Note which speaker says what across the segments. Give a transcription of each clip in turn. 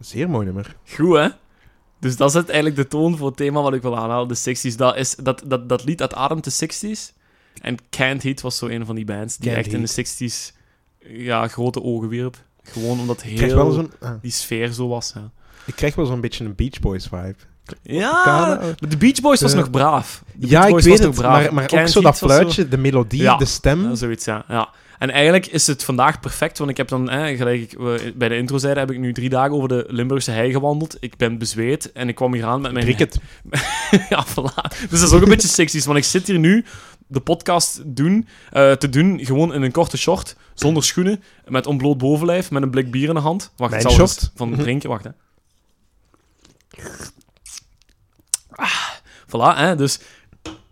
Speaker 1: Zeer mooi nummer.
Speaker 2: Goed, hè? Dus dat zet eigenlijk de toon voor het thema wat ik wil aanhalen, de 60s. Dat, is, dat, dat, dat lied dat ademt de 60s. En Can't Heat was zo een van die bands die
Speaker 1: Canned
Speaker 2: echt in de 60s ja, grote ogen wierp. Gewoon omdat
Speaker 1: Ik krijg wel
Speaker 2: heel
Speaker 1: zo'n ah,
Speaker 2: die sfeer zo was. Hè.
Speaker 1: ik krijg wel zo'n beetje een Beach Boys vibe.
Speaker 2: Ja,
Speaker 1: Kana-
Speaker 2: maar de Beach Boys was
Speaker 1: De-
Speaker 2: nog braaf. De
Speaker 1: Eh, ja,
Speaker 2: Beach
Speaker 1: ik
Speaker 2: Boys
Speaker 1: weet
Speaker 2: was
Speaker 1: het,
Speaker 2: nog braaf.
Speaker 1: maar, maar ook
Speaker 2: Canned
Speaker 1: zo dat
Speaker 2: Heat was
Speaker 1: fluitje, de melodie,
Speaker 2: Ja.
Speaker 1: de stem.
Speaker 2: Ja, zoiets, ja. ja. En eigenlijk is het vandaag perfect, want ik heb dan, eh, gelijk ik eh, bij de intro zei, heb ik nu drie dagen over de Limburgse hei gewandeld. Ik ben bezweet en ik kwam hier aan met mijn...
Speaker 1: Cricket.
Speaker 2: ja, voilà. Dus dat is ook een beetje seksies, want ik zit hier nu de podcast doen, eh, te doen, gewoon in een korte short, zonder schoenen, met ontbloot bovenlijf, met een blik bier in de hand. Wacht,
Speaker 1: Mijn
Speaker 2: ik zal er
Speaker 1: short? Mhm.
Speaker 2: eens van drinken, wacht hè. Ah, voilà, hè, dus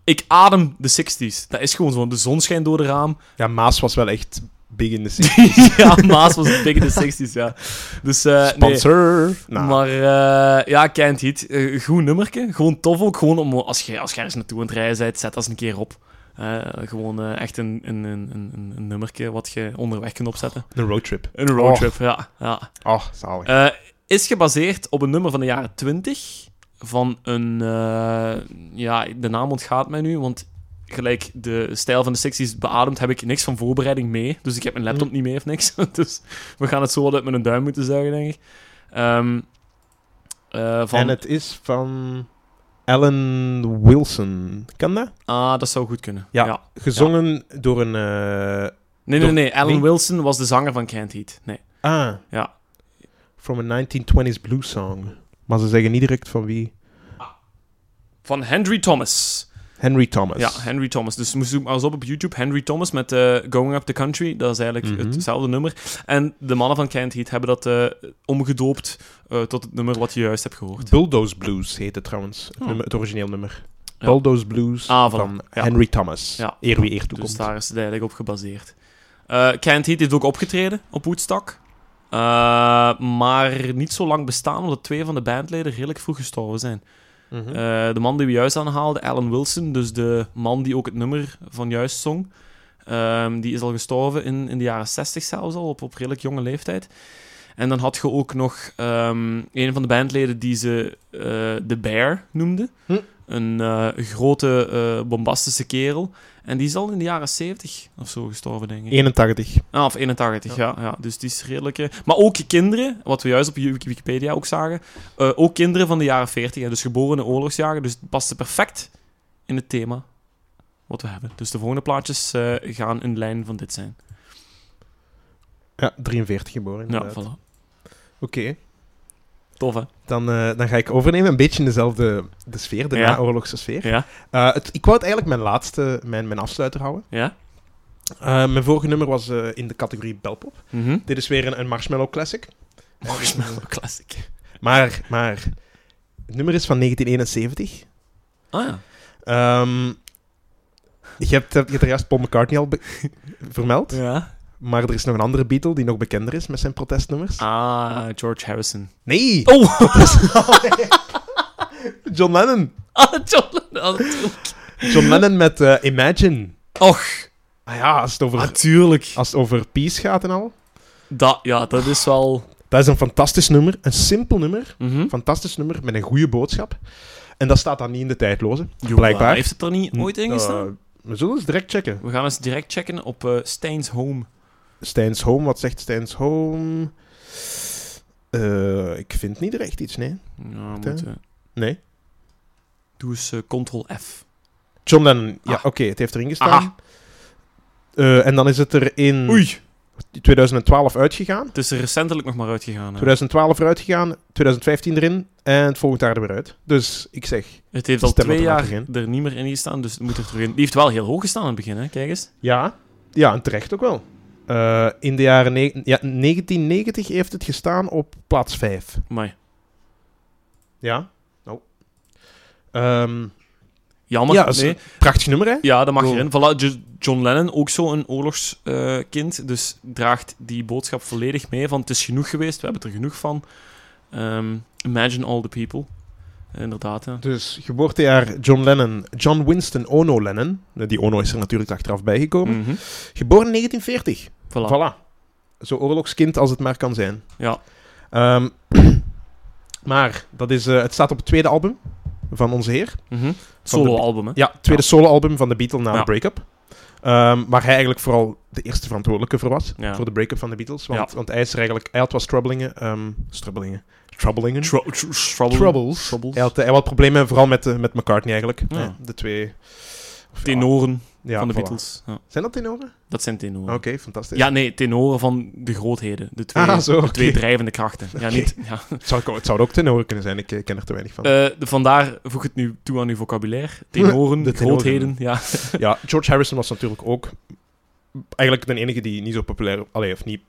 Speaker 2: ik adem de 60s. Dat is gewoon zo, de zon schijnt door de raam,
Speaker 1: Ja, Maas was wel echt big in the scene.
Speaker 2: ja, Maas was een dikke de 60s, ja. Dus, eh, nee.
Speaker 1: Sponsor. Nou,
Speaker 2: Maar eh, ja, Kent Heat, eh goed nummerke. Gewoon tof ook. Gewoon om, als je als je ergens naartoe aan het rijden bent, zet dat eens een keer op. Eh, gewoon eh, echt een, een, een, een, een- een nummerke wat je onderweg kunt opzetten.
Speaker 1: een roadtrip.
Speaker 2: Een roadtrip, ja. ja.
Speaker 1: Oh, zalig.
Speaker 2: Eh, is gebaseerd op een nummer van de jaren 20 van een... eh, ja, de naam ontgaat mij nu, want gelijk de stijl van de 60s beademt, heb ik niks van voorbereiding mee. Dus ik heb mijn
Speaker 1: Hm.
Speaker 2: laptop niet mee of niks. Dus we gaan het zo wat uit met een duim moeten zuigen, denk ik. Ehm, eh, van,
Speaker 1: En het is van Alan Wilson. Kan dat?
Speaker 2: Ah, dat zou goed kunnen.
Speaker 1: Ja. Gezongen door een... eh,
Speaker 2: Nee, nee,
Speaker 1: Door-
Speaker 2: nee. Alan
Speaker 1: wie?
Speaker 2: Wilson was de zanger van Can't Heat. Nee.
Speaker 1: ah.
Speaker 2: Ja.
Speaker 1: From a 1920s blues song. Maar ze zeggen niet direct van wie.
Speaker 2: Van Henry Thomas.
Speaker 1: Henry Thomas.
Speaker 2: Ja, Henry Thomas. Dus moest zoek maar eens op op YouTube. Henry Thomas met eh, Going Up the Country. Dat is eigenlijk
Speaker 1: Mhm.
Speaker 2: hetzelfde nummer. En de mannen van Kent Heat hebben dat eh, omgedoopt eh, tot het nummer wat je juist hebt gehoord.
Speaker 1: Bulldoze Blues heet het trouwens. Het,
Speaker 2: Oh.
Speaker 1: nummer- het origineel nummer.
Speaker 2: Ja.
Speaker 1: Bulldoze Blues
Speaker 2: Ah, voilà.
Speaker 1: van
Speaker 2: Ja.
Speaker 1: Henry Thomas.
Speaker 2: Ja.
Speaker 1: Eer wie eer toekomt.
Speaker 2: Dus daar is het eigenlijk op gebaseerd. Eh Kent Heat heeft ook opgetreden op Woodstock. Eh, maar niet zo lang bestaan, omdat twee van de bandleden redelijk vroeg gestorven zijn.
Speaker 1: Mhm.
Speaker 2: Eh, de man die we juist aanhaalden, Alan Wilson, dus de man die ook het nummer van juist zong, ehm, die is al gestorven in, in de jaren 60 zelfs al, op, op redelijk jonge leeftijd. En dan had je ook nog ehm, een van de bandleden die ze eh, de Bear noemde.
Speaker 1: Hm.
Speaker 2: Een eh, grote, eh, bombastische kerel. En die is al in de jaren 70 of zo gestorven, denk ik.
Speaker 1: 81.
Speaker 2: Ah, of 81, ja. ja, Dus die is redelijk... eh, Maar ook kinderen, wat we juist op Wiki- Wikipedia ook zagen, eh, ook kinderen van de jaren 40, hè, dus geboren in de oorlogsjaren, dus het paste perfect in het thema wat we hebben. Dus de volgende plaatjes eh, gaan in lijn van dit zijn.
Speaker 1: Ja, 43 geboren
Speaker 2: Ja,
Speaker 1: inderdaad. Oké.
Speaker 2: voilà. Tof, hè?
Speaker 1: Dan, eh, dan ga ik overnemen een beetje in dezelfde de sfeer, de
Speaker 2: Ja.
Speaker 1: naoorlogse sfeer.
Speaker 2: Ja?
Speaker 1: Eh, het, ik wou het eigenlijk mijn laatste, mijn, mijn afsluiter houden.
Speaker 2: Ja?
Speaker 1: Eh, mijn vorige nummer was eh, in de categorie belpop.
Speaker 2: Mhm.
Speaker 1: Dit is weer een, een Marshmallow Classic.
Speaker 2: Marshmallow Classic.
Speaker 1: Maar, maar, het nummer is van 1971.
Speaker 2: Ah ja.
Speaker 1: Ehm, je, hebt, je hebt er juist Paul McCartney al be- vermeld.
Speaker 2: ja.
Speaker 1: Maar er is nog een andere Beatle die nog bekender is met zijn protestnummers.
Speaker 2: Ah, George Harrison.
Speaker 1: Nee!
Speaker 2: Oh!
Speaker 1: John Lennon.
Speaker 2: Ah, John Lennon.
Speaker 1: John Lennon met eh, Imagine.
Speaker 2: Och,
Speaker 1: Ah ja, als het, over,
Speaker 2: natuurlijk.
Speaker 1: als het over peace gaat en al.
Speaker 2: Dat, ja, dat is wel...
Speaker 1: Dat is een fantastisch nummer. Een simpel nummer.
Speaker 2: Mhm.
Speaker 1: Fantastisch nummer met een goede boodschap. En dat staat dan niet in de tijdloze.
Speaker 2: Jawel,
Speaker 1: Blijkbaar. Hm.
Speaker 2: Heeft het er niet ooit in gestaan?
Speaker 1: Eh, we zullen eens direct checken.
Speaker 2: We gaan eens direct checken op eh Stijn's Home.
Speaker 1: Stijn's Home, wat zegt Stijn's Home? Eh, ik vind niet direct iets, nee.
Speaker 2: Ja,
Speaker 1: hè?
Speaker 2: moet, eh,
Speaker 1: Nee.
Speaker 2: doe eens eh, Ctrl-F.
Speaker 1: John Lennon, ja,
Speaker 2: Ah.
Speaker 1: oké, het heeft erin gestaan. Eh, en dan is het er in
Speaker 2: Oei,
Speaker 1: 2012 uitgegaan.
Speaker 2: het is er recentelijk nog maar uitgegaan. hè.
Speaker 1: 2012 eruit gegaan, 2015 erin en het volgend jaar er weer uit. Dus ik zeg,
Speaker 2: Het heeft al
Speaker 1: Stem
Speaker 2: twee
Speaker 1: het er
Speaker 2: jaar
Speaker 1: later in.
Speaker 2: er niet meer in gestaan, dus het moet er terug in. Die heeft wel heel hoog gestaan aan het begin, hè? Kijk eens.
Speaker 1: ja, ja en terecht ook wel. Eh, in de jaren ne- ja, 1990 heeft het gestaan op plaats 5.
Speaker 2: Maar
Speaker 1: Ja. Nou. Ehm,
Speaker 2: jammer.
Speaker 1: ja,
Speaker 2: Ja,
Speaker 1: dat is
Speaker 2: nee.
Speaker 1: een prachtig nummer, hè?
Speaker 2: ja dat mag
Speaker 1: Cool.
Speaker 2: erin. Voilà, Jo- John Lennon, ook zo'n oorlogskind, dus draagt die boodschap volledig mee van het is genoeg geweest, we hebben er genoeg van. Ehm, imagine all the people. Inderdaad, ja.
Speaker 1: Dus geboortejaar John Lennon, John Winston Ono Lennon. Eh, Die Ono is er natuurlijk achteraf bijgekomen.
Speaker 2: Mhm.
Speaker 1: Geboren in 1940.
Speaker 2: Voilà.
Speaker 1: Voilà. Zo oorlogskind als het maar kan zijn.
Speaker 2: Ja.
Speaker 1: Ehm, Maar dat is, eh, het staat op het tweede album van onze heer.
Speaker 2: Mhm.
Speaker 1: Van de-
Speaker 2: Solo-album, hè?
Speaker 1: Ja, tweede soloalbum van de Beatles na
Speaker 2: Ja.
Speaker 1: de break-up. Ehm, waar hij eigenlijk vooral de eerste verantwoordelijke voor was.
Speaker 2: Ja.
Speaker 1: Voor de break-up van de Beatles. Want,
Speaker 2: Ja.
Speaker 1: want hij is er eigenlijk... Hij had wat strubbelingen. ehm strubbelingen. Troublingen.
Speaker 2: Tro- tr- trouble-
Speaker 1: troubles.
Speaker 2: Troubles.
Speaker 1: Hij had, eh, hij had wat problemen vooral met, eh, met McCartney eigenlijk.
Speaker 2: Ja.
Speaker 1: Eh, de twee... of ja,
Speaker 2: Tenoren
Speaker 1: ja,
Speaker 2: van de
Speaker 1: voilà.
Speaker 2: Beatles. Ja.
Speaker 1: Zijn dat tenoren? Ah,
Speaker 2: Dat zijn tenoren.
Speaker 1: Oké, fantastisch.
Speaker 2: Ja, nee, tenoren van de grootheden. De twee,
Speaker 1: Ah, zo,
Speaker 2: de twee
Speaker 1: oké.
Speaker 2: drijvende krachten. Ja,
Speaker 1: Oké.
Speaker 2: niet, ja.
Speaker 1: Het, zou, het zouden ook tenoren kunnen zijn. Ik eh, ken er te weinig van.
Speaker 2: Eh, de- vandaar voeg het nu toe aan uw vocabulaire. Tenoren,
Speaker 1: De tenoren.
Speaker 2: grootheden. Ja.
Speaker 1: Ja, George Harrison was natuurlijk ook eigenlijk de enige die niet zo populair, allee, of niet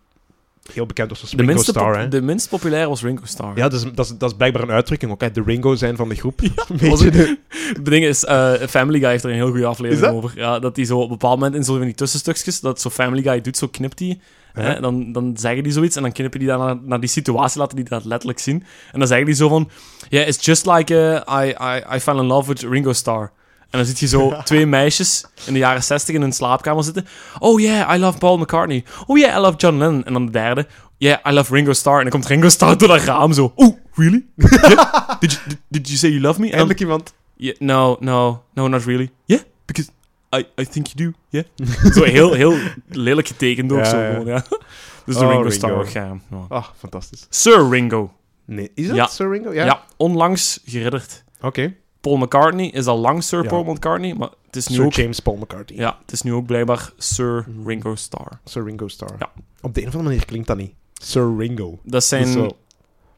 Speaker 1: heel bekend was als
Speaker 2: De,
Speaker 1: Ringo
Speaker 2: minste
Speaker 1: Starr.
Speaker 2: pop-
Speaker 1: hè.
Speaker 2: de minst populaire was Ringo Starr.
Speaker 1: Ja, dat is, dat, is, dat is blijkbaar een uitdrukking ook. Hè. De Ringo zijn van de groep. Een beetje
Speaker 2: was het-
Speaker 1: de-
Speaker 2: Het ding is, eh, Family Guy heeft er een heel goede aflevering
Speaker 1: Is dat?
Speaker 2: over. Ja, dat hij zo op een bepaald moment in zo'n van die tussenstukjes, dat zo Family Guy doet, zo knipt hij.
Speaker 1: Ja.
Speaker 2: Hè, dan, dan zeggen die zoiets en dan knippen die daarna naar, die situatie, laten die dat letterlijk zien. En dan zeggen die zo van, yeah, it's just like eh, I, I, I fell in love with Ringo Starr. En dan zit je zo twee meisjes in de jaren zestig in hun slaapkamer zitten. Oh yeah, I love Paul McCartney. Oh yeah, I love John Lennon. En dan de derde. Yeah, I love Ringo Starr. En dan komt Ringo Starr door dat raam zo. Oh, really? Yeah? Did, you, did, did you say you love me? En dan-
Speaker 1: Eindelijk iemand.
Speaker 2: Yeah, no, no, no, not really. Yeah, because I, I think you do. Yeah. zo heel, heel lelijk getekend ook
Speaker 1: Ja,
Speaker 2: zo
Speaker 1: ja.
Speaker 2: gewoon, ja. Dus
Speaker 1: Oh,
Speaker 2: de Ringo
Speaker 1: Ringo.
Speaker 2: Starr gaan. ja.
Speaker 1: Ah, fantastisch.
Speaker 2: Sir Ringo.
Speaker 1: Nee, is dat
Speaker 2: Ja.
Speaker 1: Sir Ringo?
Speaker 2: Ja.
Speaker 1: Ja.
Speaker 2: onlangs geridderd.
Speaker 1: Oké.
Speaker 2: Paul McCartney is al lang Sir
Speaker 1: Ja.
Speaker 2: Paul McCartney, maar het is, nu
Speaker 1: Sir Mhm.
Speaker 2: ook,
Speaker 1: James Paul McCartney.
Speaker 2: ja, het is nu ook blijkbaar Sir Ringo Starr.
Speaker 1: Sir Ringo Starr.
Speaker 2: Ja.
Speaker 1: Op de een of andere manier klinkt dat niet. Sir Ringo.
Speaker 2: Dat
Speaker 1: Dat
Speaker 2: zijn...
Speaker 1: is zo-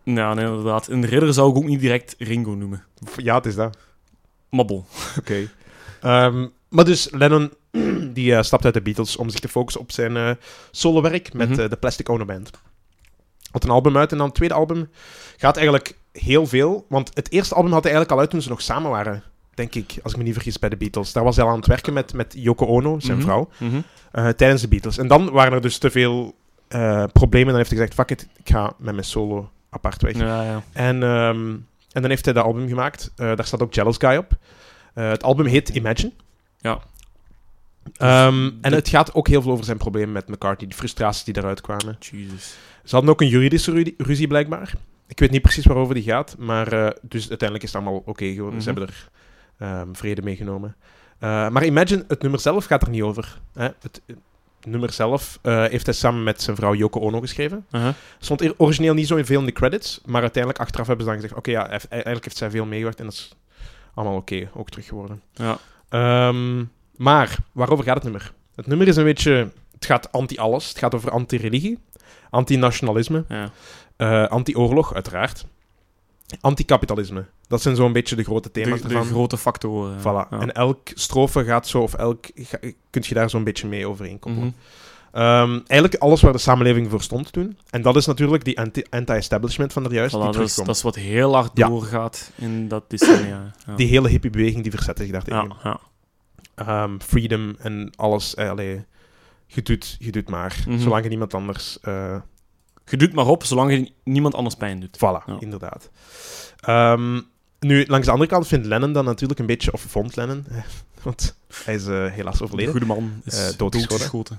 Speaker 2: Nou, nee, inderdaad. Een ridder zou ik ook niet direct Ringo noemen.
Speaker 1: Ja, het is dat.
Speaker 2: Mabbel.
Speaker 1: Oké. Ehm, maar dus Lennon die eh, stapt uit de Beatles om zich te focussen op zijn eh solowerk met
Speaker 2: Mhm.
Speaker 1: eh, de Plastic Ono Band. Had een album uit en dan het tweede album gaat eigenlijk heel veel. Want het eerste album had hij eigenlijk al uit toen ze nog samen waren, denk ik, als ik me niet vergis bij de Beatles. Daar was hij al aan het werken met, met Yoko Ono, zijn
Speaker 2: Mhm.
Speaker 1: vrouw,
Speaker 2: Mhm.
Speaker 1: eh, tijdens de Beatles. En dan waren er dus te veel eh, problemen. Dan heeft hij gezegd, fuck it, ik ga met mijn solo apart weg.
Speaker 2: Ja, ja.
Speaker 1: En, ehm, en dan heeft hij dat album gemaakt. Eh, daar staat ook Jealous Guy op. Eh, het album heet Imagine.
Speaker 2: Ja.
Speaker 1: Ehm,
Speaker 2: Dus
Speaker 1: en
Speaker 2: de-
Speaker 1: het gaat ook heel veel over zijn problemen met McCartney. De frustraties die daaruit kwamen.
Speaker 2: Jesus.
Speaker 1: Ze hadden ook een juridische ru- ruzie blijkbaar. Ik weet niet precies waarover die gaat. Maar eh, dus uiteindelijk is het allemaal oké geworden. Ze
Speaker 2: Mhm.
Speaker 1: hebben er ehm, vrede meegenomen. genomen. Eh, maar Imagine, het nummer zelf gaat er niet over. Hè? Het, eh, nummer zelf eh, heeft hij samen met zijn vrouw Yoko Ono geschreven.
Speaker 2: Uh-huh.
Speaker 1: Stond er origineel niet zo veel in de credits, maar uiteindelijk achteraf hebben ze dan gezegd: oké, ja, eff- eigenlijk heeft zij veel meegewerkt en dat is allemaal oké, ook terug geworden.
Speaker 2: Ja.
Speaker 1: Ehm, maar waarover gaat het nummer? Het nummer is een beetje: het gaat anti-alles. Het gaat over anti-religie, anti-nationalisme,
Speaker 2: Ja.
Speaker 1: eh, anti-oorlog, uiteraard, anti-kapitalisme. Dat zijn zo'n beetje de grote
Speaker 2: De,
Speaker 1: thema's
Speaker 2: de
Speaker 1: ervan.
Speaker 2: grote factoren. ja.
Speaker 1: Voilà.
Speaker 2: Ja.
Speaker 1: En elk strofe gaat zo, of elk. Ga, kunt je daar zo'n beetje mee overeen koppelen.
Speaker 2: Mhm.
Speaker 1: Ehm, eigenlijk alles waar de samenleving voor stond toen. En dat is natuurlijk die anti- anti-establishment van er juist,
Speaker 2: Voilà,
Speaker 1: die
Speaker 2: dat, is,
Speaker 1: terugkomt.
Speaker 2: dat is wat heel hard
Speaker 1: Ja.
Speaker 2: doorgaat in dat decennia. Ja.
Speaker 1: Die hele hippiebeweging die verzette zich daartegen.
Speaker 2: ja, ja.
Speaker 1: Ehm, freedom en alles. eh, allee, je, doet, je doet maar,
Speaker 2: Mhm.
Speaker 1: zolang je niemand anders... eh
Speaker 2: Je doet maar op zolang je ni- niemand anders pijn doet.
Speaker 1: voilà,
Speaker 2: Ja.
Speaker 1: inderdaad. Ehm, nu, langs de andere kant vindt Lennon dan natuurlijk een beetje... Of vond Lennon, eh, want hij is eh, helaas
Speaker 2: De
Speaker 1: overleden.
Speaker 2: goede man is
Speaker 1: Eh, doodgeschoten.
Speaker 2: doodgeschoten.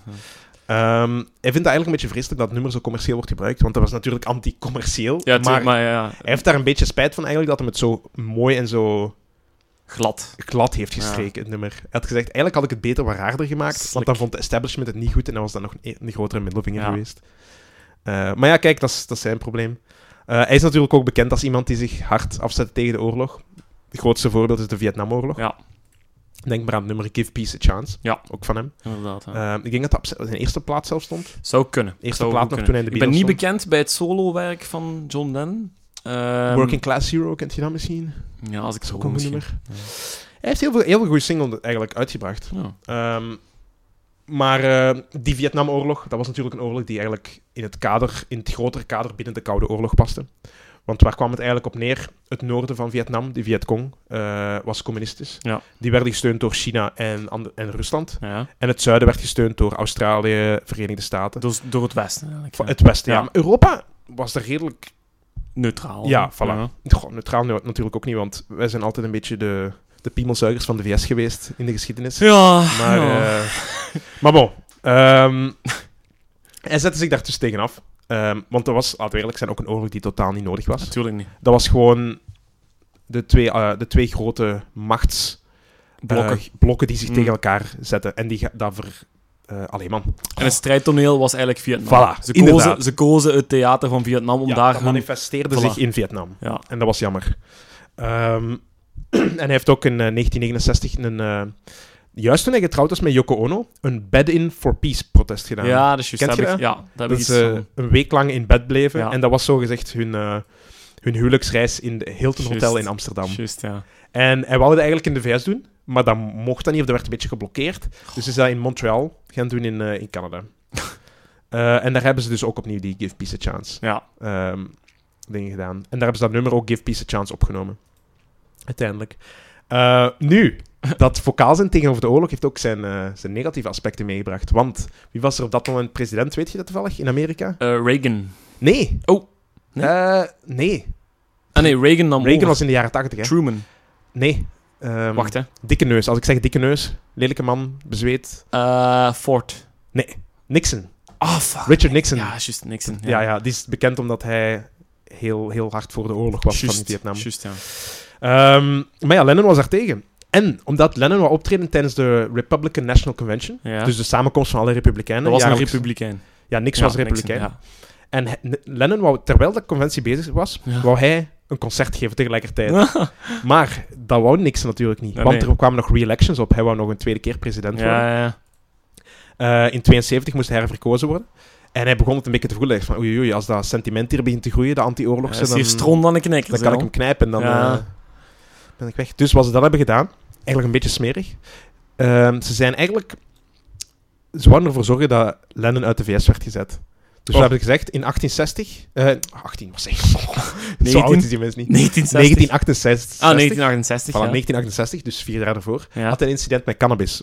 Speaker 2: Ja.
Speaker 1: Ehm, hij vindt dat eigenlijk een beetje vreselijk dat het nummer zo commercieel wordt gebruikt. Want dat was natuurlijk anti-commercieel.
Speaker 2: Ja,
Speaker 1: maar
Speaker 2: maar, maar ja, ja,
Speaker 1: hij heeft daar een beetje spijt van eigenlijk, dat hem het zo mooi en zo...
Speaker 2: glad.
Speaker 1: glad heeft gestreken, het nummer. Hij had gezegd, eigenlijk had ik het beter wat raarder gemaakt,
Speaker 2: Slik.
Speaker 1: want dan vond de establishment het niet goed en dan was dat nog een, een grotere middelvinger
Speaker 2: Ja.
Speaker 1: geweest. Eh, maar ja, kijk, dat is, dat is zijn probleem. Eh, hij is natuurlijk ook bekend als iemand die zich hard afzet tegen de oorlog. Het grootste voorbeeld is de Vietnamoorlog.
Speaker 2: Ja.
Speaker 1: Denk maar aan het nummer Give Peace a Chance,
Speaker 2: Ja.
Speaker 1: ook van hem.
Speaker 2: Inderdaad. ja.
Speaker 1: Eh, ik denk dat dat op z- zijn eerste plaats zelf stond.
Speaker 2: Zou kunnen.
Speaker 1: eerste
Speaker 2: Zou
Speaker 1: plaat
Speaker 2: goed
Speaker 1: nog
Speaker 2: kunnen.
Speaker 1: toen hij in de
Speaker 2: Ik ben niet
Speaker 1: Beatles
Speaker 2: bekend bij het solowerk van John Lennon. Ehm,
Speaker 1: Working Class Hero, kent je dat misschien?
Speaker 2: Ja, als
Speaker 1: Dat
Speaker 2: ik
Speaker 1: is
Speaker 2: zo
Speaker 1: ook een
Speaker 2: kom
Speaker 1: goed
Speaker 2: misschien.
Speaker 1: nummer. Hij heeft heel veel, heel veel goede singles eigenlijk uitgebracht.
Speaker 2: Ja.
Speaker 1: Ehm, maar eh, die Vietnamoorlog, dat was natuurlijk een oorlog die eigenlijk in het, kader, in het grotere kader binnen de Koude Oorlog paste. Want waar kwam het eigenlijk op neer? Het noorden van Vietnam, de Vietcong, eh, was communistisch.
Speaker 2: Ja.
Speaker 1: Die werden gesteund door China en, ander- en Rusland.
Speaker 2: Ja.
Speaker 1: En het zuiden werd gesteund door Australië, Verenigde Staten.
Speaker 2: Dus door het Westen. Eigenlijk,
Speaker 1: Van
Speaker 2: ja.
Speaker 1: Het westen, ja.
Speaker 2: Ja.
Speaker 1: Maar Europa was er redelijk...
Speaker 2: Neutraal.
Speaker 1: Ja, voilà.
Speaker 2: Ja.
Speaker 1: Goh, neutraal nu- natuurlijk ook niet, want wij zijn altijd een beetje de, de piemelzuigers van de VS geweest in de geschiedenis.
Speaker 2: Ja,
Speaker 1: Maar,
Speaker 2: ja.
Speaker 1: eh, maar bon. Ehm, hij zette zich daartussen tegenaf. Ehm, want dat was, laten we eerlijk zijn, ook een oorlog die totaal niet nodig was.
Speaker 2: Natuurlijk niet.
Speaker 1: Dat was gewoon de twee, eh, de twee grote machts... eh,
Speaker 2: Blokken.
Speaker 1: blokken die zich
Speaker 2: Mm.
Speaker 1: tegen elkaar zetten. En die ga- dat ver... eh, allee, man.
Speaker 2: En het strijdtoneel was eigenlijk Vietnam.
Speaker 1: Voilà,
Speaker 2: ze, kozen,
Speaker 1: inderdaad.
Speaker 2: ze kozen het theater van Vietnam om
Speaker 1: Ja,
Speaker 2: daar
Speaker 1: dat
Speaker 2: hun-
Speaker 1: manifesteerde
Speaker 2: Voilà.
Speaker 1: zich in Vietnam.
Speaker 2: Ja.
Speaker 1: En dat was jammer. Ehm, en hij heeft ook in eh, 1969 een... eh, juist toen hij getrouwd was met Yoko Ono, een Bed-in for Peace protest gedaan.
Speaker 2: ja, dus juist.
Speaker 1: Kent
Speaker 2: daar
Speaker 1: je
Speaker 2: heb ik- Ja, daar heb ik
Speaker 1: Dat eh,
Speaker 2: iets
Speaker 1: ze
Speaker 2: van.
Speaker 1: een week lang in bed bleven.
Speaker 2: Ja.
Speaker 1: En dat was zogezegd hun, eh, hun huwelijksreis in het Hilton
Speaker 2: Juist.
Speaker 1: Hotel in Amsterdam.
Speaker 2: Juist, ja.
Speaker 1: En hij wilde dat eigenlijk in de VS doen, maar dat mocht dat niet, of dat werd een beetje geblokkeerd. Dus is dat in Montreal gaan doen in, eh, in Canada. Eh, en daar hebben ze dus ook opnieuw die Give Peace a Chance
Speaker 2: Ja.
Speaker 1: ehm, dingen gedaan. En daar hebben ze dat nummer ook Give Peace a Chance opgenomen. Uiteindelijk. Eh, nu, dat vocaal zijn tegenover de oorlog heeft ook zijn, eh, zijn negatieve aspecten meegebracht. Want wie was er op dat moment president, weet je dat toevallig, in Amerika?
Speaker 2: Eh, Reagan.
Speaker 1: Nee.
Speaker 2: Oh. Nee?
Speaker 1: Nee. nee.
Speaker 2: Ah nee, Reagan nam
Speaker 1: Reagan
Speaker 2: over.
Speaker 1: was in de jaren tachtig, hè?
Speaker 2: Truman.
Speaker 1: Nee. Ehm,
Speaker 2: Wacht, hè.
Speaker 1: Dikke neus. Als ik zeg dikke neus, lelijke man, bezweet.
Speaker 2: Eh, Ford.
Speaker 1: Nixon.
Speaker 2: Ah, fuck.
Speaker 1: Richard Nixon.
Speaker 2: Ja, juist, Nixon.
Speaker 1: ja, ja, die is bekend omdat hij heel, heel hard voor de oorlog was
Speaker 2: Juist,
Speaker 1: van Vietnam.
Speaker 2: Juist, ja.
Speaker 1: Ehm, maar ja, Lennon was daar tegen. En omdat Lennon wou optreden tijdens de Republican National Convention,
Speaker 2: ja.
Speaker 1: dus de samenkomst van alle republikeinen.
Speaker 2: dat was een
Speaker 1: jaarlijks-
Speaker 2: republikein.
Speaker 1: Ja, niks
Speaker 2: Ja,
Speaker 1: was
Speaker 2: Nixon,
Speaker 1: republikein.
Speaker 2: ja.
Speaker 1: En he- N- Lennon wou, terwijl de conventie bezig was,
Speaker 2: Ja.
Speaker 1: wou hij een concert geven tegelijkertijd. maar dat wou Nixon natuurlijk niet,
Speaker 2: Nee,
Speaker 1: want
Speaker 2: nee.
Speaker 1: er kwamen nog re-elections op. Hij wou nog een tweede keer president worden.
Speaker 2: Ja, ja, ja.
Speaker 1: Eh, in 72 moest hij herverkozen worden. En hij begon het een beetje te voelen. Hij dacht van, oei, oei, als dat sentiment hier begint te groeien, de
Speaker 2: Ja,
Speaker 1: anti-oorlogse,
Speaker 2: Ze heeft
Speaker 1: dan,
Speaker 2: stron dan een knikker.
Speaker 1: dan kan ik hem knijpen en dan
Speaker 2: Ja.
Speaker 1: eh, ben ik weg. Dus wat ze dan hebben gedaan, eigenlijk een beetje smerig. Ehm, ze zijn eigenlijk... Ze wouden ervoor zorgen dat Lennon uit de VS werd gezet. Dus
Speaker 2: Oh.
Speaker 1: we hebben gezegd, in 1860... eh 18, wat zeg ik? Zo
Speaker 2: 19?
Speaker 1: oud is die mens niet.
Speaker 2: 1960.
Speaker 1: 1968.
Speaker 2: Ah, 1968.
Speaker 1: Voilà,
Speaker 2: ja.
Speaker 1: 1968, dus vier jaar daarvoor.
Speaker 2: Ja.
Speaker 1: Had hij een incident met cannabis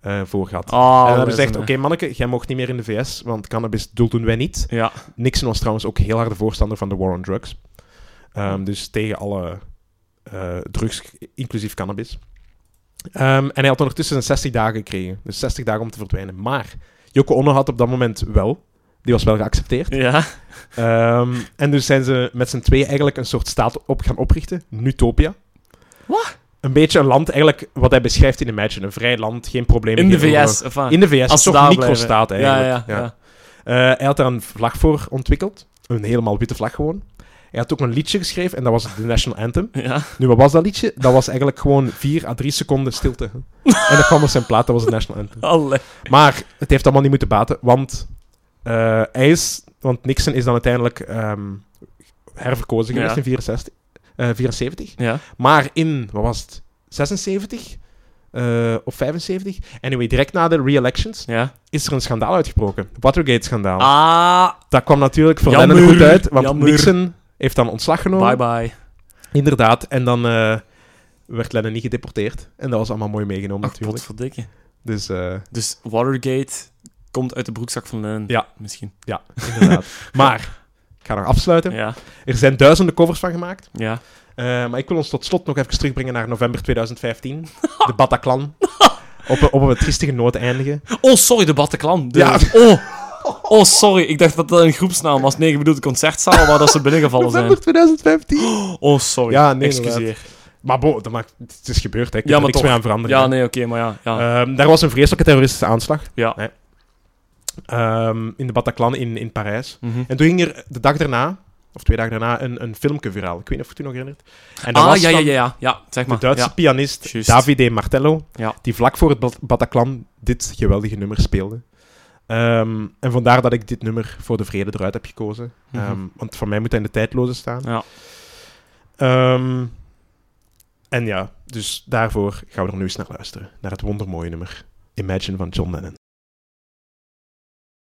Speaker 1: eh, voor gehad.
Speaker 2: Ah,
Speaker 1: En
Speaker 2: dat
Speaker 1: dan
Speaker 2: is
Speaker 1: hebben ze gezegd,
Speaker 2: een-
Speaker 1: oké manneke, jij mocht niet meer in de VS, want cannabis doel doen wij niet.
Speaker 2: eh, Ja,
Speaker 1: Nixon was trouwens ook heel harde voorstander van de war on drugs. Ehm, dus tegen alle eh, drugs, inclusief cannabis. Ehm, en hij had ondertussen zijn 60 dagen gekregen. Dus 60 dagen om te verdwijnen. Maar Yoko Ono had op dat moment wel. Die was wel geaccepteerd.
Speaker 2: ja.
Speaker 1: Ehm, en dus zijn ze met z'n twee eigenlijk een soort staat op gaan oprichten. Nutopia.
Speaker 2: Wat?
Speaker 1: Een beetje een land, eigenlijk wat hij beschrijft in Imagine. Een vrij land, geen problemen.
Speaker 2: in de
Speaker 1: geen oorlog.
Speaker 2: VS. Of wat?
Speaker 1: In de VS,
Speaker 2: Als
Speaker 1: als
Speaker 2: ze
Speaker 1: een
Speaker 2: daar
Speaker 1: soort
Speaker 2: blijven.
Speaker 1: microstaat
Speaker 2: ja,
Speaker 1: eigenlijk.
Speaker 2: ja,
Speaker 1: ja.
Speaker 2: ja.
Speaker 1: Eh, hij had daar een vlag voor ontwikkeld. Een helemaal witte vlag gewoon. Hij had ook een liedje geschreven en dat was de National Anthem.
Speaker 2: Ja.
Speaker 1: Nu, wat was dat liedje? Dat was eigenlijk gewoon 4 à 3 seconden stilte. En dat kwam op zijn plaat, dat was de National Anthem.
Speaker 2: Allee.
Speaker 1: Maar het heeft allemaal niet moeten baten, want eh, hij is... Want Nixon is dan uiteindelijk ehm, herverkozen geweest
Speaker 2: Ja.
Speaker 1: in 64, eh, 74.
Speaker 2: Ja.
Speaker 1: Maar in, wat was het? 76? eh, of 75? Anyway, direct na de re-elections
Speaker 2: ja.
Speaker 1: is er een schandaal uitgebroken. Watergate-schandaal.
Speaker 2: Ah,
Speaker 1: Dat kwam natuurlijk voor
Speaker 2: Jammer,
Speaker 1: Lennon goed uit, want
Speaker 2: jammer.
Speaker 1: Nixon heeft dan ontslag genomen.
Speaker 2: bye bye.
Speaker 1: Inderdaad, en dan eh, werd Lennon niet gedeporteerd. En dat was allemaal mooi meegenomen
Speaker 2: Ach,
Speaker 1: natuurlijk.
Speaker 2: potverdikke.
Speaker 1: Dus eh,
Speaker 2: Dus Watergate komt uit de broekzak van Lennon.
Speaker 1: Ja.
Speaker 2: Misschien.
Speaker 1: inderdaad. maar, ik ga nog afsluiten.
Speaker 2: Ja.
Speaker 1: Er zijn duizenden covers van gemaakt.
Speaker 2: Ja.
Speaker 1: Eh, maar ik wil ons tot slot nog even terugbrengen naar november 2015. De Bataclan. Op, een- op een triestige noot eindigen.
Speaker 2: Oh, sorry, de Bataclan. De...
Speaker 1: Ja.
Speaker 2: Oh. oh, sorry. Ik dacht dat dat een groepsnaam was. Nee, ik bedoel de concertzaal waar dat ze binnengevallen zijn.
Speaker 1: November 2015.
Speaker 2: Oh, sorry.
Speaker 1: Ja, nee,
Speaker 2: Excuseer.
Speaker 1: Maar bo, dat maakt, het is gebeurd. Hè. Ik kan er
Speaker 2: Ja, maar
Speaker 1: niks
Speaker 2: toch.
Speaker 1: meer aan veranderen.
Speaker 2: Ja, Eh, nee, oké, maar ja. ja.
Speaker 1: Ehm, daar was een vreselijke terroristische aanslag.
Speaker 2: Ja.
Speaker 1: Nee. Ehm, in de Bataclan in, in Parijs.
Speaker 2: Mhm.
Speaker 1: En toen ging er de dag daarna, of twee dagen daarna, een, een filmpje viraal. Ik weet niet of je het toen nog herinnert. En dat
Speaker 2: Ah,
Speaker 1: was
Speaker 2: ja, ja,
Speaker 1: van
Speaker 2: ja, ja. Ja, zeg maar.
Speaker 1: de Duitse
Speaker 2: Ja.
Speaker 1: pianist
Speaker 2: Juist.
Speaker 1: Davide Martello,
Speaker 2: Ja.
Speaker 1: die vlak voor het Bat- Bataclan dit geweldige nummer speelde. Ehm, en vandaar dat ik dit nummer voor de vrede eruit heb gekozen.
Speaker 2: Mhm.
Speaker 1: Ehm, want voor mij moet hij in de tijdloze staan.
Speaker 2: Ja.
Speaker 1: Ehm, en ja, dus daarvoor gaan we er nu eens naar luisteren. Naar het wondermooie nummer Imagine van John Lennon.